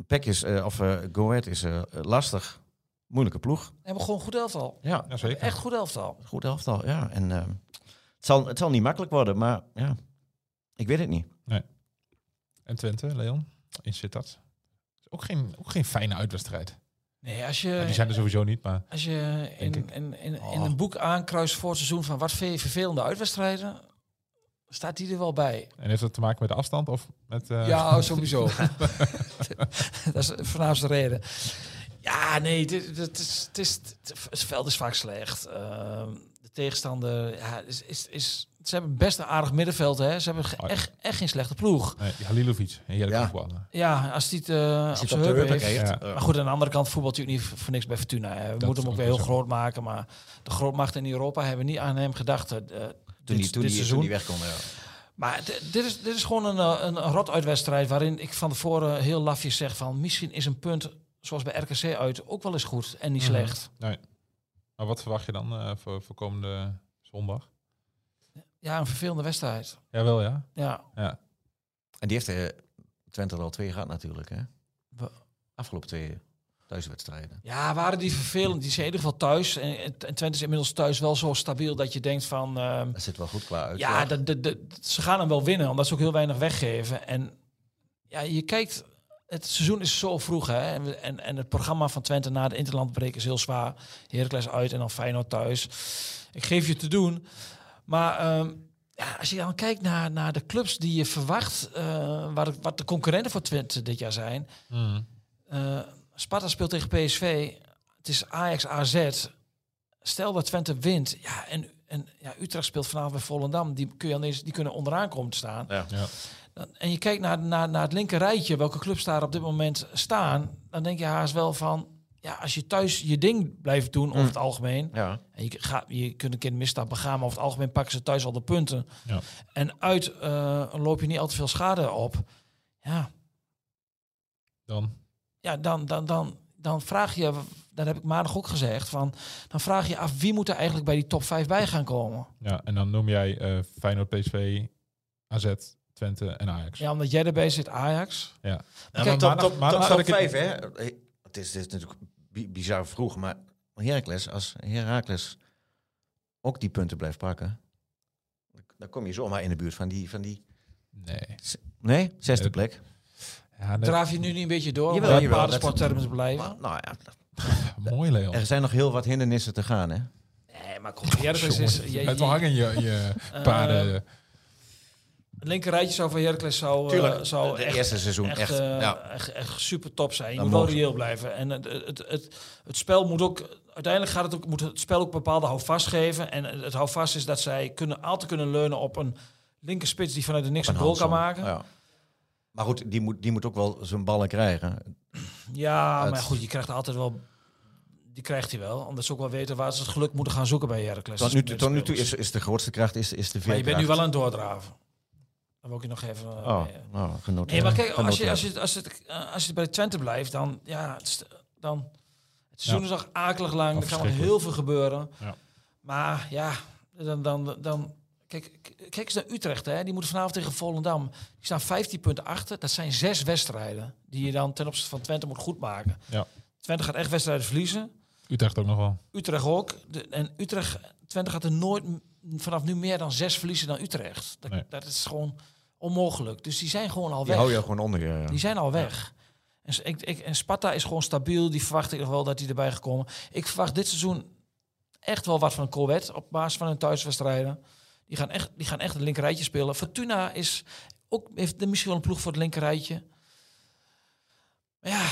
[SPEAKER 4] Pek is, eh, of eh Go Ahead is eh, lastig. Moeilijke ploeg.
[SPEAKER 5] We hebben gewoon een goed elftal.
[SPEAKER 4] Ja,
[SPEAKER 3] Ja, zeker.
[SPEAKER 5] Echt goed elftal.
[SPEAKER 4] goed elftal. Ja, en eh, het, zal, het zal niet makkelijk worden, maar ja, ik weet het niet.
[SPEAKER 3] En Twente, Leon, in Sittard. Is Ook geen, ook geen fijne uitwedstrijd.
[SPEAKER 5] Nee, als
[SPEAKER 3] Ja, die
[SPEAKER 5] je,
[SPEAKER 3] zijn er sowieso niet, maar...
[SPEAKER 5] als je in,
[SPEAKER 3] Denk
[SPEAKER 5] in, in, in een boek aankruist voor het seizoen van wat vind je vervelende uitwedstrijden, staat die er wel bij.
[SPEAKER 3] En heeft dat te maken met de afstand of met... eh,
[SPEAKER 5] Ja, oh, sowieso. dat is de voornaamste reden. Ja, nee, dit, dit is, het, is, het veld is vaak slecht. Ehm, de tegenstander, ja, is, is, is, ze hebben best een aardig middenveld. Hè. Ze hebben ge-
[SPEAKER 3] Oh ja.
[SPEAKER 5] echt, echt geen slechte ploeg.
[SPEAKER 3] Nee, die Halilovic, een heerlijke
[SPEAKER 4] Ja.
[SPEAKER 3] voetballer.
[SPEAKER 5] Ja, als die het eh op
[SPEAKER 4] Als je
[SPEAKER 5] zijn
[SPEAKER 4] het op de
[SPEAKER 5] heupen
[SPEAKER 4] heupen
[SPEAKER 5] heeft.
[SPEAKER 4] krijgt,
[SPEAKER 3] Ja.
[SPEAKER 4] eh,
[SPEAKER 5] Maar goed, aan de andere kant voetbalt natuurlijk niet voor niks bij Fortuna. Hè. We moeten
[SPEAKER 3] is
[SPEAKER 5] hem ook
[SPEAKER 3] ook
[SPEAKER 5] weer heel
[SPEAKER 3] zo.
[SPEAKER 5] groot maken. Maar de grootmachten in Europa hebben niet aan hem gedacht eh, dit,
[SPEAKER 4] Toen die, toen
[SPEAKER 5] dit
[SPEAKER 4] die, toen
[SPEAKER 5] seizoen.
[SPEAKER 4] die wegkomen. Ja.
[SPEAKER 5] maar d- dit is, dit is gewoon een, eh, een, een rot uitwedstrijd waarin ik van tevoren heel lafjes zeg van... misschien is een punt, zoals bij RKC uit, ook wel eens goed en niet
[SPEAKER 3] Mhm.
[SPEAKER 5] slecht.
[SPEAKER 3] Maar wat verwacht je dan eh, voor, voor komende zondag?
[SPEAKER 5] Ja, een vervelende wedstrijd.
[SPEAKER 3] Jawel, ja.
[SPEAKER 5] Ja,
[SPEAKER 3] ja.
[SPEAKER 4] En die heeft eh, Twente er al twee gehad natuurlijk, hè?
[SPEAKER 5] Wa-
[SPEAKER 4] Afgelopen twee thuiswedstrijden.
[SPEAKER 5] ja waren die vervelend. Die zijn in ieder geval thuis. En, en Twente is inmiddels thuis wel zo stabiel dat je denkt van... ehm,
[SPEAKER 4] Dat zit wel goed qua uit.
[SPEAKER 5] Ja, dat, dat, dat- ze gaan hem wel winnen, omdat ze ook heel weinig weggeven. En ja, je kijkt, het seizoen is zo vroeg. Hè? En, we- en, en het programma van Twente na de Interlandbreek is heel zwaar. Heracles uit en dan Feyenoord thuis. Ik geef je te doen. Maar ehm, ja, als je dan kijkt naar, naar de clubs die je verwacht, eh, waar, de- wat de concurrenten voor Twente dit jaar zijn,
[SPEAKER 3] Mhm.
[SPEAKER 5] eh, Sparta speelt tegen PSV. Het is Ajax AZ. Stel dat Twente wint. Ja, en, en ja, Utrecht speelt vanavond bij Volendam. Die, kun je aan deze, die kunnen onderaan komen te staan.
[SPEAKER 4] Ja.
[SPEAKER 3] Ja.
[SPEAKER 5] Dan- En je kijkt naar, naar, naar het linker rijtje, welke clubs daar op dit moment staan. Dan denk je haast wel van, ja, als je thuis je ding blijft doen over het algemeen.
[SPEAKER 4] Ja.
[SPEAKER 5] En je, gaat, je kunt een keer een misstap begaan, maar over het algemeen pakken ze thuis al de punten.
[SPEAKER 3] Ja.
[SPEAKER 5] En uit eh, loop je niet al te veel schade op. Ja,
[SPEAKER 3] Dan.
[SPEAKER 5] ja, dan, dan, dan, dan vraag je, dat heb ik maandag ook gezegd, van, dan vraag je af wie moet er eigenlijk bij die top 5 bij gaan komen.
[SPEAKER 3] Ja, en dan noem jij eh Feyenoord, PSV, AZ, Twente en Ajax.
[SPEAKER 5] Ja, omdat jij erbij zit, Ajax.
[SPEAKER 3] Ja.
[SPEAKER 4] Ja,
[SPEAKER 5] Kijk,
[SPEAKER 4] maar
[SPEAKER 3] top-
[SPEAKER 4] top,
[SPEAKER 3] top- top- top vijf,
[SPEAKER 4] vijf, hè? Eh, Het is, het is natuurlijk bi- bizar vroeg, maar Heracles, als Heracles ook die punten blijft pakken, dan kom je zomaar in de buurt van die, van die
[SPEAKER 3] Nee.
[SPEAKER 4] Nee, zesde
[SPEAKER 3] Eh,
[SPEAKER 4] plek.
[SPEAKER 3] Ja, dat-
[SPEAKER 5] Draaf je nu niet een beetje door om
[SPEAKER 4] Jawel,
[SPEAKER 5] bij
[SPEAKER 4] jawel,
[SPEAKER 5] paardensporttermen te
[SPEAKER 4] Maar,
[SPEAKER 5] blijven?
[SPEAKER 4] nou ja,
[SPEAKER 3] mooi Leon.
[SPEAKER 4] er zijn nog heel wat hindernissen te gaan, hè?
[SPEAKER 5] Nee, maar kom. Heracles is...
[SPEAKER 3] Jongen,
[SPEAKER 5] Je,
[SPEAKER 3] het wel
[SPEAKER 5] je,
[SPEAKER 3] hangen in je, in je
[SPEAKER 5] Eh,
[SPEAKER 3] paarden. eh,
[SPEAKER 5] het linker rijtje zou van Heracles zou, eh, zou
[SPEAKER 4] de
[SPEAKER 5] echt,
[SPEAKER 4] eerste seizoen echt.
[SPEAKER 5] echt, eh,
[SPEAKER 4] ja.
[SPEAKER 5] echt, echt super top zijn. Je
[SPEAKER 4] Dat
[SPEAKER 5] moet wel
[SPEAKER 4] mogen ze.
[SPEAKER 5] reëel blijven. En het, het, het, het spel moet ook... Uiteindelijk gaat het, ook, moet het spel ook bepaalde houvast geven. En het houvast is dat zij kunnen, altijd kunnen leunen op een linkerspits die vanuit de niks een
[SPEAKER 4] Van
[SPEAKER 5] goal kan
[SPEAKER 4] Hansom,
[SPEAKER 5] maken. Ja,
[SPEAKER 4] ja. Maar goed, die moet, die moet ook wel zijn ballen krijgen.
[SPEAKER 5] maar
[SPEAKER 4] Het-
[SPEAKER 5] goed, je krijgt altijd wel... Die krijgt hij wel. Anders ook wel weten waar ze het geluk moeten gaan zoeken bij Heracles.
[SPEAKER 4] Tot nu,
[SPEAKER 5] Met
[SPEAKER 4] tot nu toe
[SPEAKER 5] spelers.
[SPEAKER 4] is, is de grootste kracht is, is de veerkracht.
[SPEAKER 5] Maar je bent nu wel aan het doordraven. Dan wil ik je nog even... eh,
[SPEAKER 4] Oh,
[SPEAKER 5] mee-
[SPEAKER 4] nou, genoten.
[SPEAKER 5] Nee, maar kijk, als je,
[SPEAKER 4] Genoten.
[SPEAKER 5] als, je, als, het, eh, als je bij Twente blijft, dan... Ja, het, is- dan, het seizoen is nog akelig lang. Er kan nog
[SPEAKER 3] verschrikkelijk.
[SPEAKER 5] heel veel gebeuren.
[SPEAKER 3] Ja.
[SPEAKER 5] Maar ja, dan... dan, dan kijk, k- kijk eens naar Utrecht, hè. Die moeten vanavond tegen Volendam. Die staan 15 punten achter. Dat zijn zes wedstrijden die je dan ten opzichte van Twente moet goedmaken.
[SPEAKER 3] Ja.
[SPEAKER 5] Twente gaat echt wedstrijden verliezen.
[SPEAKER 3] Utrecht ook nog wel.
[SPEAKER 5] Utrecht ook. De- en Utrecht, Twente gaat er nooit m- vanaf nu meer dan zes verliezen dan Utrecht. Dat,
[SPEAKER 3] Nee.
[SPEAKER 5] dat is gewoon onmogelijk. Dus die zijn gewoon al
[SPEAKER 4] Die
[SPEAKER 5] weg.
[SPEAKER 4] hou je gewoon onder je.
[SPEAKER 5] Die zijn al weg. En, s- ik, ik, en Sparta is gewoon stabiel. Die verwacht ik nog wel dat die erbij gekomen. Ik verwacht dit seizoen echt wel wat van een Corvette op basis van hun thuiswedstrijden. Die gaan echt, die gaan echt een linkerrijtje spelen. Fortuna is ook, heeft er misschien wel een ploeg voor het linkerrijtje. Maar ja,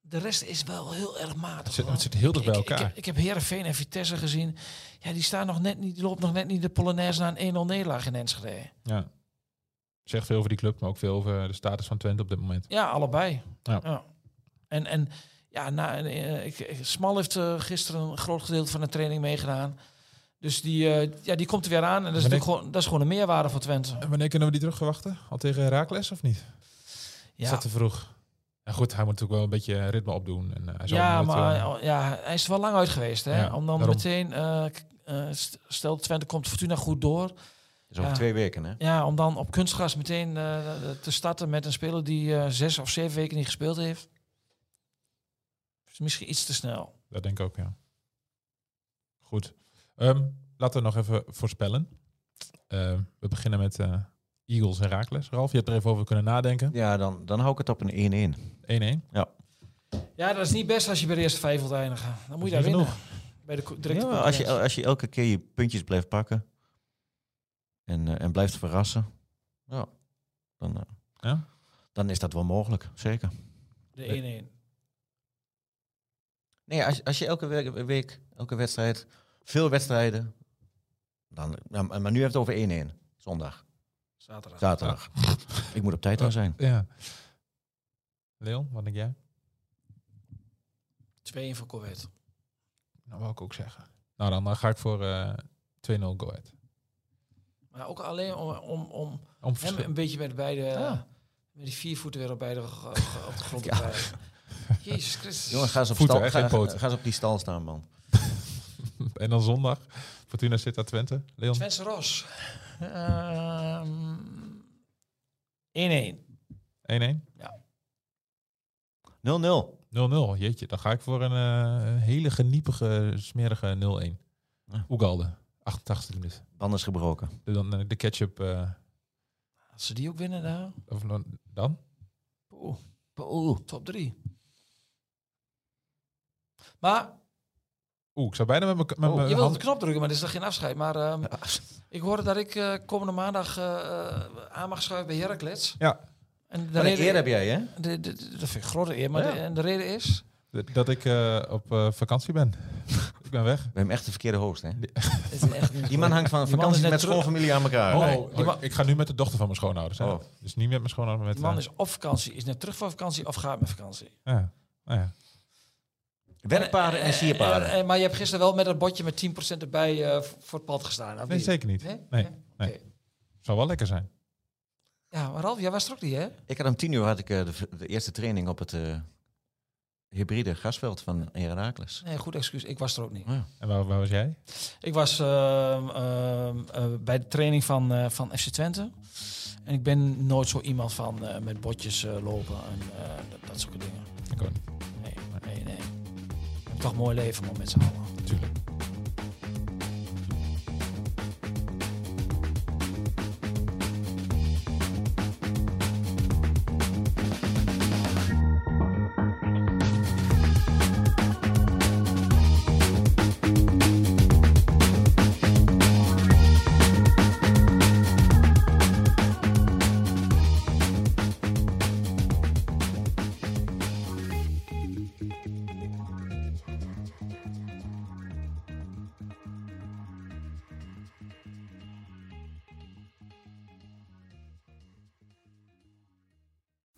[SPEAKER 5] de rest is wel heel erg
[SPEAKER 3] Het
[SPEAKER 5] matig.
[SPEAKER 3] zit,
[SPEAKER 5] hoor.
[SPEAKER 3] het zit heel dicht bij
[SPEAKER 5] Ik, ik,
[SPEAKER 3] elkaar.
[SPEAKER 5] heb- ik heb Herenveen en Vitesse gezien. Ja, die staan nog net niet, die loopt nog net niet de Polonaise naar een 1-0 nederlaag in Enschede.
[SPEAKER 3] Ja. Zegt veel over die club, maar ook veel over de status van Twente op dit moment.
[SPEAKER 5] Ja, allebei.
[SPEAKER 3] Ja.
[SPEAKER 5] En, en ja, na, en, eh, ik, ik- Smal heeft eh, gisteren een groot gedeelte van de training meegedaan. Dus die, eh, ja, die komt er weer aan. En dat is,
[SPEAKER 3] Maar
[SPEAKER 5] natuurlijk gewoon, dat is gewoon een meerwaarde voor Twente.
[SPEAKER 3] En wanneer kunnen we die terug verwachten? Al tegen Herakles of niet? Is
[SPEAKER 5] Ja,
[SPEAKER 3] dat te vroeg? En goed, hij moet natuurlijk wel een beetje ritme opdoen. En, eh, hij zal
[SPEAKER 5] ja
[SPEAKER 3] nooit,
[SPEAKER 5] maar
[SPEAKER 3] eh,
[SPEAKER 5] eh, ja, hij is er wel lang uit geweest. Hè?
[SPEAKER 3] Ja,
[SPEAKER 5] Om dan
[SPEAKER 3] daarom.
[SPEAKER 5] meteen, eh, k- eh, st- stel Twente komt Fortuna goed door.
[SPEAKER 4] Is over
[SPEAKER 5] Ja.
[SPEAKER 4] twee weken, hè?
[SPEAKER 5] Ja, om dan op kunstgras meteen eh, te starten met een speler die eh, zes of zeven weken niet gespeeld heeft. Is misschien iets te snel.
[SPEAKER 3] Dat denk ik ook, ja. Goed. Ehm, laten we nog even voorspellen. Ehm, we beginnen met eh, Eagles en Herakles. Ralf, je hebt er even over kunnen nadenken. 1-1.
[SPEAKER 4] Ja, dan, dan hou ik het op een 1-1.
[SPEAKER 5] Ja, dat is niet best als je bij de eerste vijf wilt eindigen. Dan moet je
[SPEAKER 3] Dat
[SPEAKER 5] daar
[SPEAKER 3] is niet
[SPEAKER 5] winnen. Bij de co- directe
[SPEAKER 4] Ja, maar als, je,
[SPEAKER 5] concurrentie.
[SPEAKER 4] als je elke keer je puntjes blijft pakken en, eh, en blijft verrassen, ja, dan, eh,
[SPEAKER 3] Ja?
[SPEAKER 4] dan is dat wel mogelijk, zeker.
[SPEAKER 5] De 1-1.
[SPEAKER 4] Nee, als, als je elke we- week, elke wedstrijd, veel wedstrijden, dan, ja, maar maar nu heeft het over 1-1, zondag,
[SPEAKER 5] Zaterdag.
[SPEAKER 4] zaterdag. Ik moet op tijd aan zijn.
[SPEAKER 3] Ja. Leon, wat denk jij?
[SPEAKER 5] 2-1 voor Corvette.
[SPEAKER 3] Nou, wou ik ook zeggen. Nou, dan, eh, ga ik voor eh 2-0 Go Ahead.
[SPEAKER 5] Maar ook alleen om, om, om
[SPEAKER 3] Om
[SPEAKER 5] hem
[SPEAKER 3] verschil-
[SPEAKER 5] een beetje met beide... eh,
[SPEAKER 4] Ja.
[SPEAKER 5] Met die vier voeten weer op beide ge- ge- op de grond te krijgen. Jezus Christus.
[SPEAKER 4] Jongen, ga eens op,
[SPEAKER 3] Voeten,
[SPEAKER 4] stal,
[SPEAKER 3] hè, geen
[SPEAKER 4] ga,
[SPEAKER 3] poten.
[SPEAKER 4] ga eens op die stal staan, man.
[SPEAKER 3] En dan zondag. Fortuna zit aan Twente. Leon,
[SPEAKER 5] Twente Ros. Ehm, 1-1.
[SPEAKER 3] 1-1.
[SPEAKER 4] 0-0.
[SPEAKER 3] 0-0. Jeetje, dan ga ik voor een eh, een hele geniepige, smerige 0-1.
[SPEAKER 4] Ja.
[SPEAKER 3] Oegalde, 88e minuut.
[SPEAKER 4] Band is gebroken.
[SPEAKER 3] De, dan, eh, de ketchup... eh,
[SPEAKER 5] Als ze die ook winnen, nou.
[SPEAKER 3] Of dan? dan?
[SPEAKER 5] Poeh. Poeh. Top 3. Maar
[SPEAKER 3] Oeh, ik zou bijna met mijn met
[SPEAKER 4] Oh,
[SPEAKER 3] mijn
[SPEAKER 5] je wilt op
[SPEAKER 3] hand...
[SPEAKER 5] de knop drukken, maar dit is nog geen afscheid. Maar ehm, ik hoorde dat ik eh, komende maandag eh, eh, aan mag schuiven bij Heracles.
[SPEAKER 3] Ja.
[SPEAKER 5] En de
[SPEAKER 4] Wat een
[SPEAKER 5] reden,
[SPEAKER 4] eer heb jij, hè?
[SPEAKER 5] de, de, de- dat vind ik grote eer. Maar
[SPEAKER 4] Ja.
[SPEAKER 5] de, en de reden is...
[SPEAKER 3] d- dat ik eh, op eh, vakantie ben. ik ben weg.
[SPEAKER 4] We hebben echt de verkeerde host, hè?
[SPEAKER 5] Het is echt niet
[SPEAKER 4] Die man hangt van
[SPEAKER 5] Die man is
[SPEAKER 4] vakantie
[SPEAKER 5] net
[SPEAKER 4] met
[SPEAKER 5] terug.
[SPEAKER 4] schoonfamilie aan elkaar.
[SPEAKER 3] Oh,
[SPEAKER 4] Nee.
[SPEAKER 3] oh,
[SPEAKER 5] die
[SPEAKER 3] ik-
[SPEAKER 5] ma-
[SPEAKER 3] ik ga nu met de dochter van mijn schoonouders. hè.
[SPEAKER 4] Oh.
[SPEAKER 3] Dus niet met mijn schoonouders, maar
[SPEAKER 5] Die
[SPEAKER 3] met...
[SPEAKER 5] man
[SPEAKER 3] eh,
[SPEAKER 5] is op vakantie, is net terug van vakantie of gaat met vakantie.
[SPEAKER 3] ja. Nou ja.
[SPEAKER 4] Werkpaarden
[SPEAKER 5] Eh,
[SPEAKER 4] en sierpaarden.
[SPEAKER 5] En- en- maar je hebt gisteren wel met een botje met 10% erbij eh, voor voor het pad gestaan. of
[SPEAKER 3] Nee,
[SPEAKER 5] niet?
[SPEAKER 3] zeker niet.
[SPEAKER 5] Nee?
[SPEAKER 3] Nee.
[SPEAKER 5] Nee?
[SPEAKER 3] Nee.
[SPEAKER 5] Oké.
[SPEAKER 3] Zou wel lekker zijn.
[SPEAKER 5] Ja, maar Ralf, jij was er ook niet, hè?
[SPEAKER 4] Ik had om tien uur had ik, eh, de, v- de eerste training op het eh, hybride gasveld van Herakles.
[SPEAKER 5] Nee, goed excuus. Ik was er ook niet.
[SPEAKER 3] En waar, waar was jij?
[SPEAKER 5] Ik was ehm, ehm, eh, bij de training van, eh, van FC Twente. En ik ben nooit zo iemand van eh, met botjes eh, lopen en eh, dat, dat soort dingen.
[SPEAKER 3] Ik ook niet,
[SPEAKER 5] Nee, nee, nee. Toch een mooi leven, man, met z'n allen.
[SPEAKER 3] natuurlijk.